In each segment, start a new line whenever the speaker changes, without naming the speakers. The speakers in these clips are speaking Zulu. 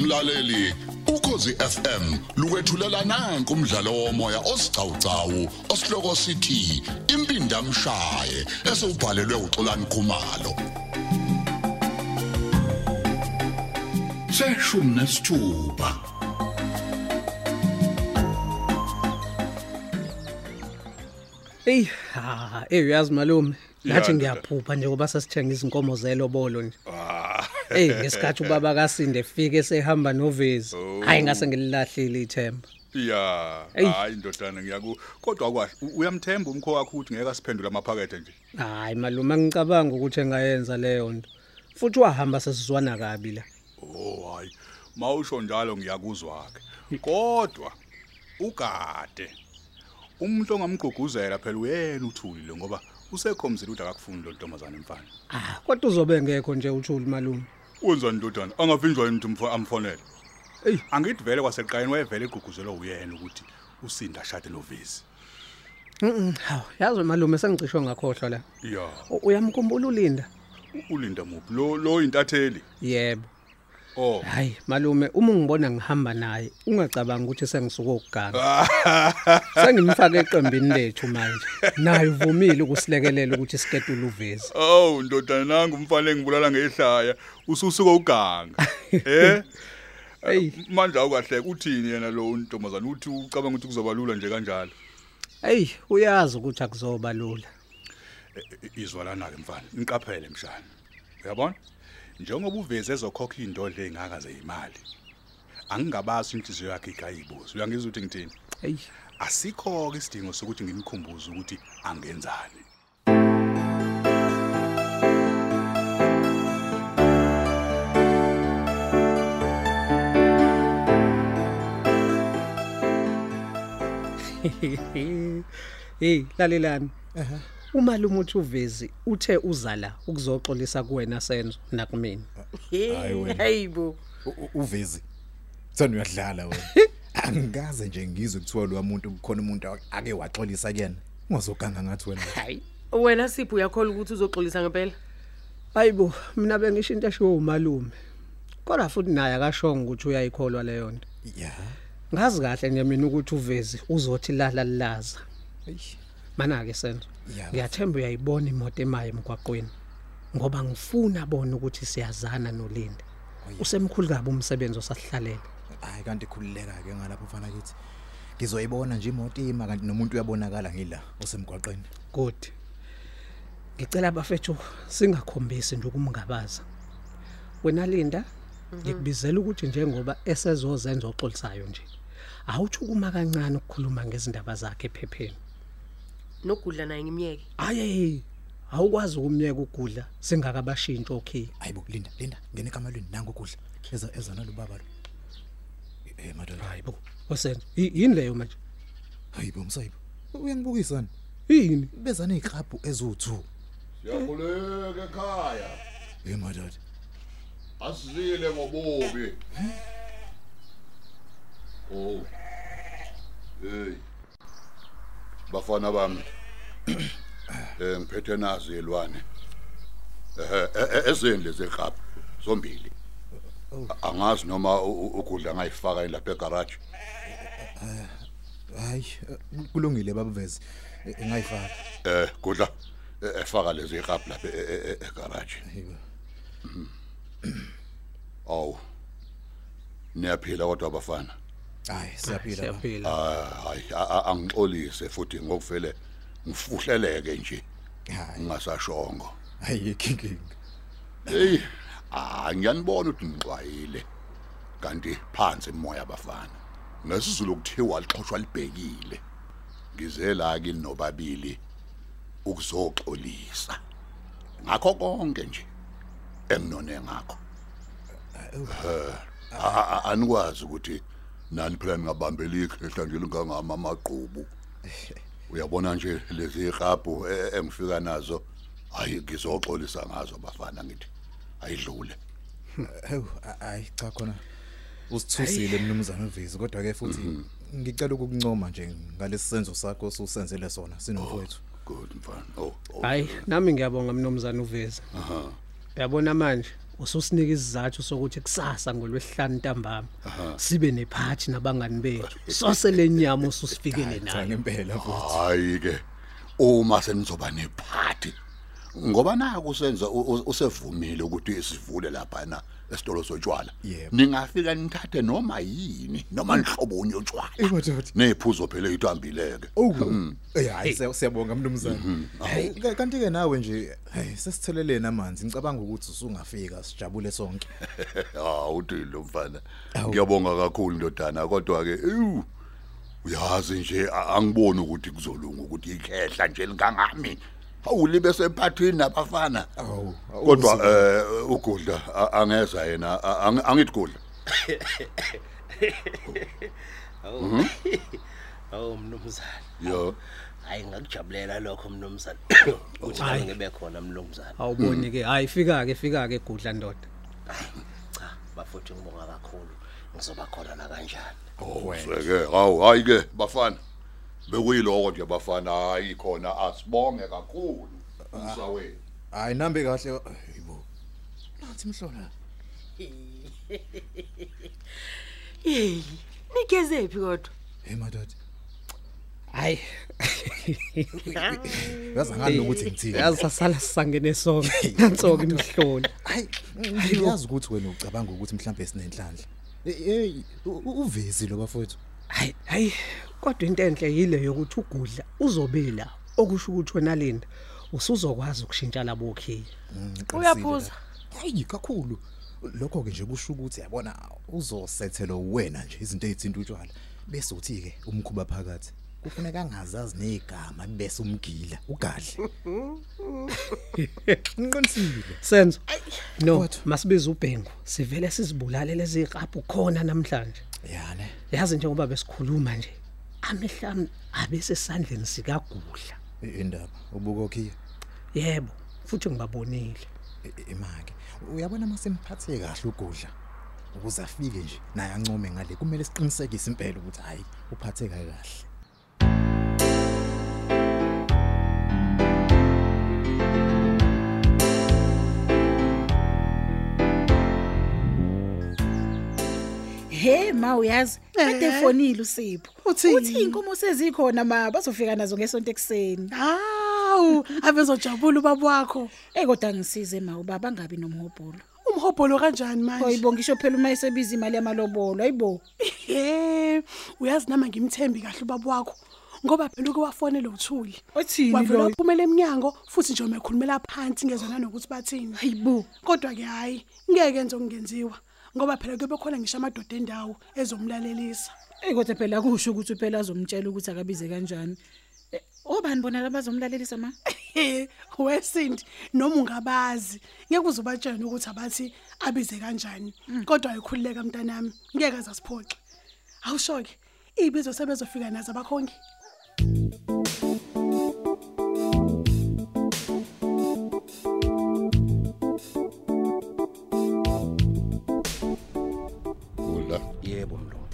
mlaleli ukhosi FM lukwethulela nanku umdlalo womoya osiqhawqhawo osihloko sithi impinda mshaye esubhalelwe uXolani Khumalo Seshum nesithuba
Hey, ha, eh uyazi malume, ngathi
ndoda.
ngiyaphupha njengoba sasithenga izinkomo zelobolo nje.
Ah,
Eh ngesikhathi ubaba kaSinde efike sehamba novezi. Hayi ngase ngililahlile ithemba.
ya
Eyi.
hayi ndodana ngiyaku kodwa kwahle u- uyamthemba umkho wakho ukuthi ngeke asiphendule amaphakethe nje
Hayi malume angicabanga ukuthi engayenza leyo nto. Futhi wahamba sesizwana kabi la.
oh hayi mawusho njalo ngiyakuzwa ke kodwa ugade umuntu ongamgqugquzela phela uyena uthuli lo ngoba usekhomzile ukuthi akakufuni lo ntombazana emfana
Ah kodwa uzobe ngekho nje uthuli malume.
wenzani ndodana angavinjwa yini umuntu amfonele eyi angithi vele kwaseqayeni wayevele egqugquzelwa uyena ukuthi usinda shade novezi
Mhm, hawu yazi malume sengicishe ngakhohlwa la.
ya
U- Uyamkhumbula ulinda?
u- ulinda muphi lo lo intatheli
Yebo.
oh
Hayi malume uma ungibona ngihamba naye ungacabangi ukuthi sengisuka ukuganga. Sengimfaka eqembini lethu manje. Naye uvumile ukusilekelela ukuthi isketule uvezi.
Oh ndodana nanga umfana engibulala ngehlaya ususuka uganga. Eh?
Hey.
Manje awukahleka uthini yena lo ntombazana uthi ucabanga ukuthi kuzoba lula nje kanjalo.
Hey, uyazi ukuthi akuzoba lula.
Izwalana ke mfana, niqaphele mshana. Uyabona? Njengoba uveze ezokhokha indodle ezingaka zeyimali. Angingabazi inhliziyo yakhe igayibuzo. Uyangizwa ukuthi ngithini?
Hey.
Asikho ke isidingo sokuthi ngimkhumbuze ukuthi angenzani.
Hey, lalelani. Umalume uthi uvezi uthe uzala ukuzoxolisa kuwena senzo nakumina.
Hayi
Eh, Hey,
wena.
hayibo.
U- u- uvezi thana uyadlala wena angikaze nje ngizwe kuthiwa lo muntu kukhona umuntu ake waxolisa kuyena ungazoganga ngathi wena
Hayi. Wena sipho uyakhola ukuthi uzoxolisa ngempela?
Hayibo, mina bengisho into eshiwo umalume. Kodwa futhi naye akashonga ukuthi uyayikholwa leyo nto.
ya
Ngazi kahle nje mina ukuthi uvezi uzothi lala lilaza.
Eish.
Mana ke senzo.
Ya.
Ngiyathemba uyayibona imoto emaye emgwaqweni. Ngoba ngifuna bona ukuthi siyazana noLinda. Usemkhulu kabi umsebenzi osahlalela.
hayi kanti khululeka ke ngalapho mfana kithi ngizoyibona nje imoto ima kanti nomuntu uyabonakala ngila osemgwaqeni
Good. Ngicela bafethu singakhombisi nje ukumngabaza. Wena Linda, ngikubizela ukuthi njengoba esezozenza oxolisayo nje. Awuthi ukuma kancane ukukhuluma ngezindaba zakhe ephepheni.
Nogudla naye ngimyeke.
Aye, awukwazi ukumnyeka ugudla singakabashintsha okay.
hayibo linda linda ngene ekamalweni nangu kudla eza eza nalubaba lo eh madoda
Hayibo, wasenzo. yi- Yini leyo manje?
hayibo msayibo uyangibukisana
Yini?
beza neziklabhu ezu2
siyakhuleka ekhaya
eh madoda
asizile ngobubi oh hey bafana bami eh ngiphethe nazo yelwane eh ezindle zekhapha zombili angazi noma u- u- ugudla ngayifaka yini lapha egarage
hayi kulungile babavezi ngayifaka
eh gudla eh, efaka lezi ikhapha lapha e- e- e- egarage
hayibo
aw niyaphila kodwa bafana
hayi siyaphila baba.
Siyaphila.
Ah, hayi a- a- angixolise futhi ngokuvele ngifuhleleke nje
hayi
ngasashongo
hayi kinking
hey ah ngiyanibona ukuthi ngixwayile kanti phansi imoya abafana ngesizulu kuthiwa lixoshwa libhekile ngizela ke ninobabili ukuzoxolisa ngakho konke nje eminone ngakho Eh, a- a- anikwazi ukuthi nani phela ningabambeli ikhehla nje lingangama amaqhubu uyabona nje lezi iqaphu engifika nazo hayi ngizoxolisa ngazo bafana ngithi ayidlule
hawu hayi cha khona usithusile mnumzane uvezi kodwa ke futhi ngicela ukukuncoma nje ngalesi senzo sakho osusenzele sona sinomfowethu
good mfana oh oh,
Hayi, nami ngiyabonga mnumzane uveza. Aha. Uyabona manje ususinika isizathu sokuthi kusasa ngolwesihlanu ntambama sibe nephathi nabangani bethu sosele nyama ususifikele
cha
nayo
ngempela futhi
Oh. hayi ke uma senizoba nephathi ngoba naku senza u- u- usevumile ukuthi sivule lapha na esitolo sotshwala
Yebo.
ningafika nithathe noma yini noma nihlobo unyotshwala
imadodoti
nephuzo phela ithambile ke
Oh. Eh hayi siya- siyabonga mnumzane. Hey kanti ke nawe nje hey sesithelelene amanzi ngicabanga ukuthi usungafika sijabule sonke.
awuthi lo mfana Ah, ngiyabonga kakhulu ndodana kodwa ke ewu uyazi nje a- angiboni ukuthi kuzolunga ukuthi ikhehla nje lingangami awulibe sephathini nabafana
Awu, awu,
kodwa
uzi-
eh ugudla a- angeza yena a- ang- angithi gudla
Awu. Awu mnumzana.
yo
Oh, Hayi ngakujabulela lokho mnumzana. Uthi nami ngibe khona mnumzana.
awuboni ke hayi fika ke fika ke gudla ndoda
Cha, bafuthi ngibonga kakhulu. Ngizoba khona la kanjani.
Oh,
Oh, Seke hawu hayi ke bafana bekuyiloko nje bafana hayi khona asibonge kakhulu umsawethu
Hayi nambe kahle hayibo. Nathi mhlola.
yeyi nigezephi kodwa
Hey madodoti.
hayi
Yazi ngani ukuthi ngithini?
yazi sasala sisangene sonke nansoke imhloli
Hayi, ngiyazi ukuthi wena ucabanga ukuthi mhlambe sinenhlanhla. Eh, Hey uvezi lo bafowethu.
hayi hayi kodwa into enhle yile yokuthi ugudla uzobe la okusho ukuthi wena Linda usuzokwazi ukushintsha labo khiye
Uyaphuza?
Mm, Hayi kakhulu. Lokho ke nje kusho ukuthi yabona uzosethelwa wena nje izinto ezithinta utshwala. Bese uthi ke umkhuba phakathi. Kufuneka angazazi negama bese umgila ugadle. Ngiqinisile.
senzo no
kodwa-
masibiza ubhengu sivele sizibulale lezi ziqaphu khona namhlanje
Yana.
yazi njengoba besikhuluma nje amehlami abesesandleni sikagudla
Indaba ubuko khiya.
yebo futhi ngibabonile
Imake. Uyabona masemphathe kahle ugudla. Ukuze afike nje naye ancome ngale kumele siqinisekise impela ukuthi hayi uphatheka kahle.
He ma uyazi
Eh.
kade efonile uSipho.
Uthini?
Uthi inkomo sezikhona ma bazofika nazo ngesonto ekseni.
Hawu, abezojabula ubaba wakho.
Eh kodwa ngisize ma ubaba ngabi nomhobholo.
Umhobholo kanjani manje?
Hoyibo ngisho phela uma esebiza imali yamalobolo ayibo.
He, Eh, uyazi nama ngimthembi kahle ubaba wakho. Ngoba phela uke wafonela uthuli.
Othini
Wavela
loyo?
uphumela emnyango futhi nje umekhulumela phansi ngezona nokuthi bathini.
Hayibo.
Kodwa ke hayi, ngeke enze okungenziwa. Ngoba phela kube khona ngisho amadoda endawo ezomlalelisa.
Eh kodwa phela kusho ukuthi phela azomtshela ukuthi akabize kanjani. Eh, Obani bona labazomlalelisa ma?
He, wesindi noma ungabazi ngeke uzobatshela ukuthi abathi abize kanjani kodwa ayikhululeka mntanami ngeke azasiphoxe awushoke ibizo sebezofika nazo abakhongi
gudla
Yebo mlo.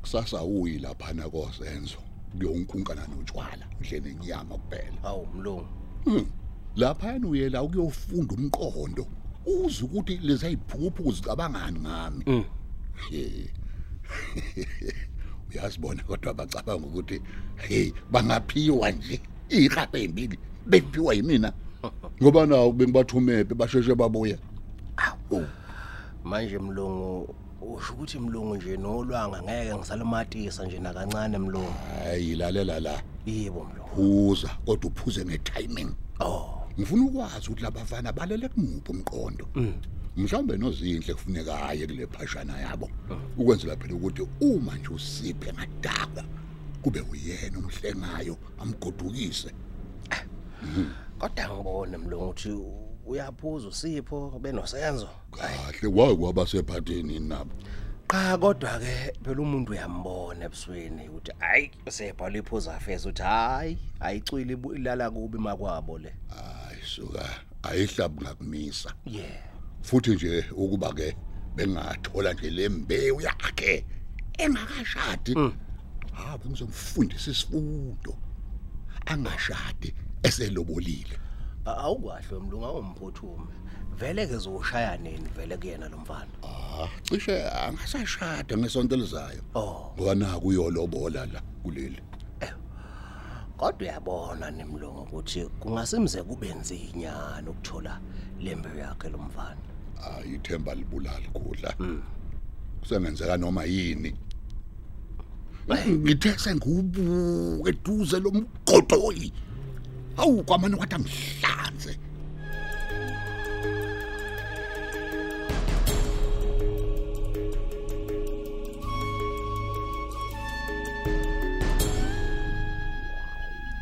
kusasa uyi lapha na kozenzo kuyonkunkana notshwala ndlela inyama kuphela
Awu mlo.
lapha uye la ukuyofunda umqondo uze ukuthi lezi ayiphuphu uzicabangani ngami Eh. uyazibona kodwa bacabanga ukuthi hey bangaphiwa nje iqhape ezimbili bephiwa yimina ngoba nawo bengibathumephe basheshe babuya awu
Manje mlungu usho ukuthi mlungu nje nolwanga ngeke ngisalumatisa nje nakancane mlungu.
hayi lalela la
Yebo mlungu.
phuza kodwa uphuze ngetiming
Oh,
ngifuna ukwazi ukuthi labafana balele kumuphi umqondo mhlawumbe nozinhle kufuneka aye kule phashana yabo ukwenzela phela ukuthi uma nje usiphe ngadakwa kube uyena umhlengayo amgodukise
kodwa ngibone mlungu uthi uyaphuza usipho benosenzo.
kahle wakwaba sephatheni nabo
Cha kodwa ke phela umuntu uyambona ebusweni ukuthi hayi usebhala iphuza feza uthi hayi ayicwili ibu- ilala kubi makwabo le.
hayi suka ayihlabu ngakumisa
Yeah.
futhi nje ukuba ke bengathola nje lembewu yakhe engakashadi ha bengizomfundisa isifundo angashadi eselobolile
A- awukahle mlunga awumphuthume vele ke zoshaya nini vele kuyena lo mfana
ah cishe angasashada ngesonto elizayo
oh
ngoba naku uyolobola la kuleli
kodwa uyabona nemlungu ukuthi kungasemze kube nzinyana ukuthola lembewu yakhe lo mfana
hayi Ah, ithemba libulala khudla kusengenzeka noma yini Eh, ngithe sengubuke eduze lomgodoyi awu kwamane kwathi angihlanze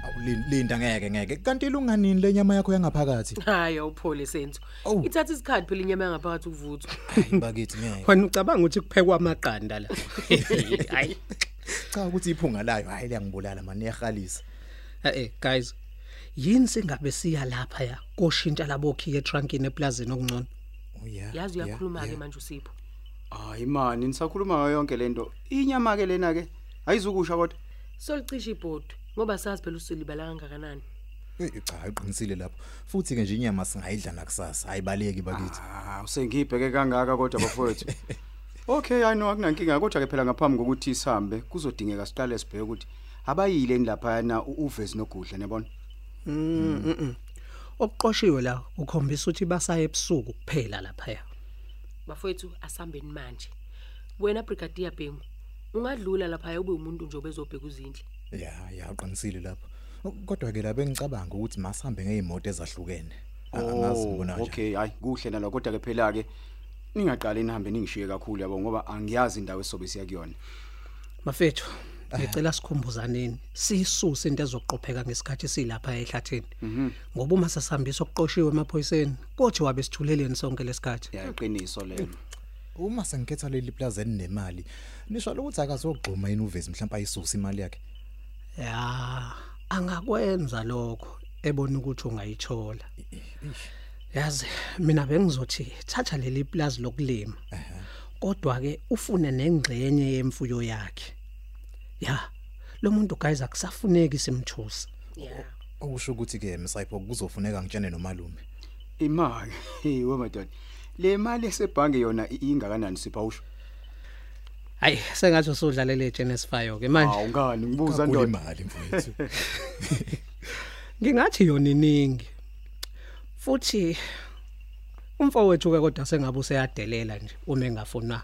Awu, Lin- linda ngeke ngeke kanti lunganini le nyama yakho yangaphakathi
hayi awuphole senzo
Awu.
ithatha isikhathi phela inyama yangaphakathi ukuvuthwa
hayi bakithi ngeke
wena ucabanga ukuthi kuphekwa amaqanda la hayi
cha ukuthi iphunga layo hayi liyangibulala manje iyahalisa
eh guys yini singabe siya lapha ya koshintsha labokhi etrankini eplazini okungcono
uya
yazi uyakhuluma-ke manje usipho
hayi mani nisakhuluma ngayo yonke lento inyama ke lena ke ayizukusha kodwa
solicisha ibhodi ngoba sazi phela usilibala kangakanani
cha uqinisile lapho futhi ke nje inyama singayidla nakusasa ayibaleki bakithi
ah usengibheke kangaka kodwa bafowethu okay i know akunankinga kodwa ke phela ngaphambi kokuthi sihambe kuzodingeka siqale sibheke ukuthi abayile nilaphana u- uvezi nogudla nebona
obuqoshiwe la ukhombisa ukuthi basaya ebusuku kuphela lapha ya
bafowethu asihambeni manje wena brigadier bhengu ungadlula laphaya ube umuntu nje obezobheka uzindle
ya ya uqinisile lapho kodwa ke laba engicabanga ukuthi masihambe ngeemoto ezahlukene angazi Ah, ngibona nje
okay hayi kuhle nalo kodwa ke phela ke ningaqali nihambe ningishiye kakhulu yabo ngoba angiyazi indawo esobe siya kuyona
mafethu ngicela sikhumbuzaneni sisuse into ezoqopheka ngesikhathi silapha ehlathini ngoba uma sasihambisa okuqoshiwe emaphoyiseni kothi wabe sithuleleni sonke lesikhathi
yayiqiniso lelo
uma sengikhetha leli plaza elinemali nisho lokuthi akazogxuma yini uvezi mhlawumbe ayisusa imali yakhe
ya angakwenza lokho ebona ukuthi ungayithola yazi mina bengizothi thatha leli plaza lokulima kodwa ke ufune nengxenye yemfuyo yakhe ya lo muntu guys akusafuneki simthusa
ya
okusho ukuthi ke msayipho kuzofuneka ngitshene nomalume
imali we madoda le mali esebhange yona i- ingakanani siphawusho
hayi sengathi usudlalela iGenesis 5 ke manje
awungani ngibuza
kakhulu
ndoda
imali mfowethu
ngingathi yona iningi futhi umfowethu ke kodwa sengabe useyadelela nje uma engafuna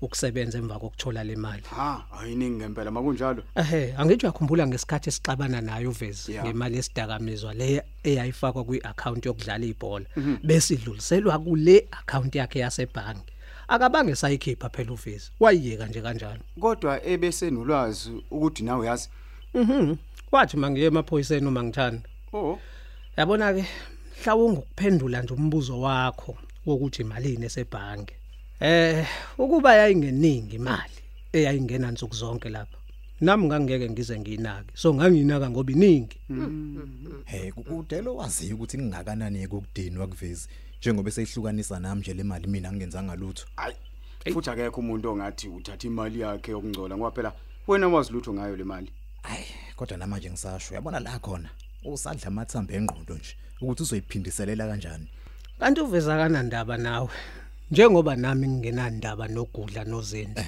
ukusebenza emva kokuthola le mali
ha ayiningi ngempela makunjalo
ehe angithi uyakhumbula ngesikhathi esixabana naye uvezi
Yeah.
ngemali yesidakamizwa le eyayifakwa kwi-account yokudlala ibhola bese idluliselwa kule account yakhe yasebhangi akabange sayikhipha phela uvezi wayiyeka nje kanjalo
kodwa ebesenolwazi ukuthi nawe yazi
mhm wathi mangiye emaphoyiseni uma ngithanda
oh
yabona ke mhlawumbe ukuphendula nje umbuzo wakho wokuthi imali nesebhange eh ukuba yayingeningi imali eyayingena nsuku zonke lapha nami ngangeke ngize ngiyinake so nganginaka ngoba iningi
hey kudelo waziyo ukuthi kungakanani ekudinwa kuvezi njengoba esehlukanisa nami nje le mali mina ngingenzanga lutho
hayi futhi akekho umuntu ongathi uthatha imali yakhe yokungcola ngoba phela wena wazi lutho ngayo le mali
Ay, kodwa namanje ngisasho, uyabona la khona. Usadla amathambo engqondo nje ukuthi uzoyiphindiselela kanjani.
kanti uveza kanandaba nawe njengoba nami ngingenandaba nogudla nozinto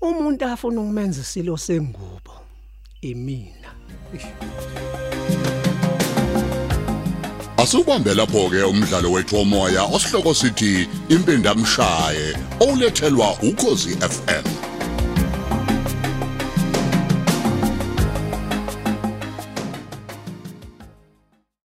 umuntu afuna ukumenza isilo sengubo imina
Asubambe lapho ke umdlalo wethomoya osihloko sithi impindamshaye olethelwa ukozi FM